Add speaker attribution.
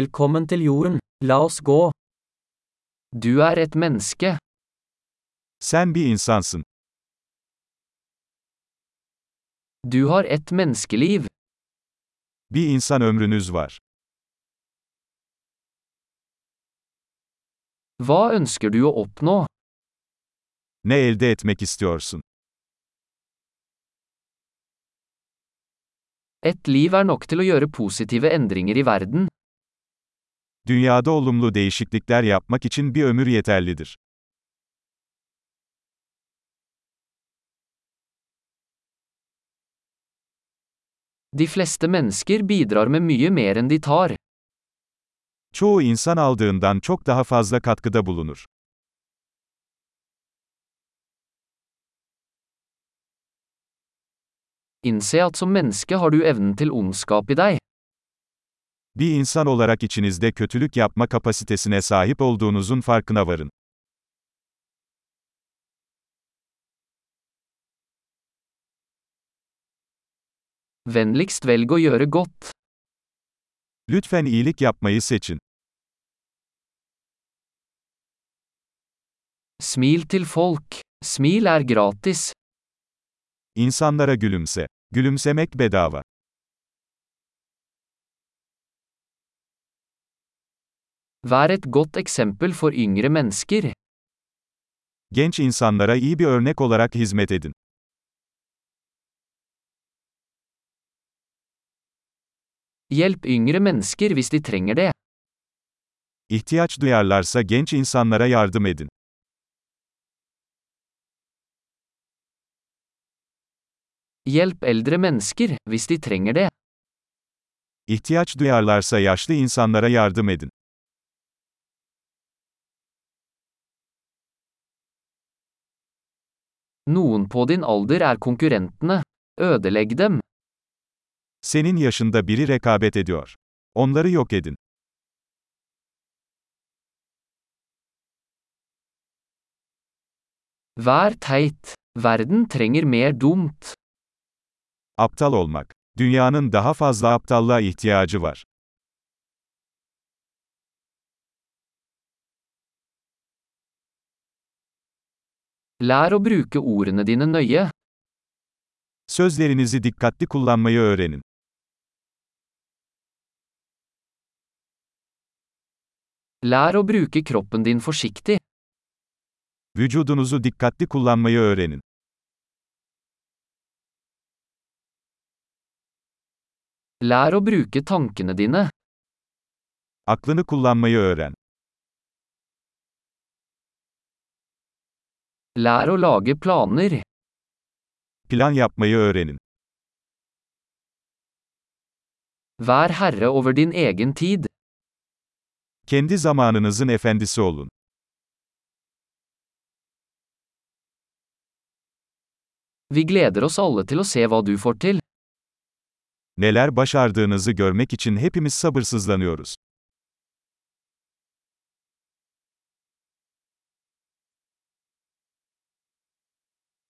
Speaker 1: Velkommen til jorden, la oss gå. Du er et menneske,
Speaker 2: Sen bir insansın.
Speaker 1: du har ett menneskeliv.
Speaker 2: Bir insan ömrünüz var.
Speaker 1: Hva ønsker du å oppnå?
Speaker 2: Ne elde etmek istiyorsun?
Speaker 1: Et liv er nok til å gjøre positive endringer i verden.
Speaker 2: Dünyada olumlu değişiklikler yapmak için bir ömür yeterlidir.
Speaker 1: De fleste mennesker bidrar med mye mer enn de tar.
Speaker 2: Çoğu insan aldığından çok daha fazla katkıda bulunur.
Speaker 1: Innse at som menneske har du evnen til ondskap i deg.
Speaker 2: Bir insan olarak içinizde kötülük yapma kapasitesine sahip olduğunuzun farkına varın.
Speaker 1: Vennligst velg å gjøre godt.
Speaker 2: Lütfen iyilik yapmayı seçin.
Speaker 1: Smil til folk. Smil er gratis.
Speaker 2: İnsanlara gülümse. Gülümsemek bedava.
Speaker 1: Vær et godt eksempel for yngre mennesker.
Speaker 2: Genç insanlara iyi bir örnek olarak hizmet edin.
Speaker 1: Hjelp yngre mennesker hvis de trenger det.
Speaker 2: İhtiyaç duyarlarsa genç insanlara yardım edin.
Speaker 1: Hjelp eldre mennesker hvis de trenger det.
Speaker 2: İhtiyaç duyarlarsa yaşlı insanlara yardım edin.
Speaker 1: Noen på din alder er konkurrentene. Ødelegg dem.
Speaker 2: Senin yaşında biri rekabet ediyor. Onları yok edin.
Speaker 1: Vær teit. Verden trenger mer dumt.
Speaker 2: Aptal olmak. Dünyanın daha fazla aptallığa ihtiyacı var.
Speaker 1: Lær å bruke ordene dine nøye.
Speaker 2: Sözlerinizi dikkatli kullanmayı öğrenin.
Speaker 1: Lær å bruke kroppen din forsiktig.
Speaker 2: Vücudunuzu dikkatli kullanmayı öğrenin.
Speaker 1: Lær å bruke tankene dine.
Speaker 2: Aklını kullanmayı öğren.
Speaker 1: Lær å lage planer.
Speaker 2: Plan yapmayı öğrenin.
Speaker 1: Vær herre over din egen tid.
Speaker 2: Kendi zamanınızın efendisi olun.
Speaker 1: Vi gleder oss alle til å se hva du får til.
Speaker 2: Neler başardığınızı görmek için hepimiz sabırsızlanıyoruz.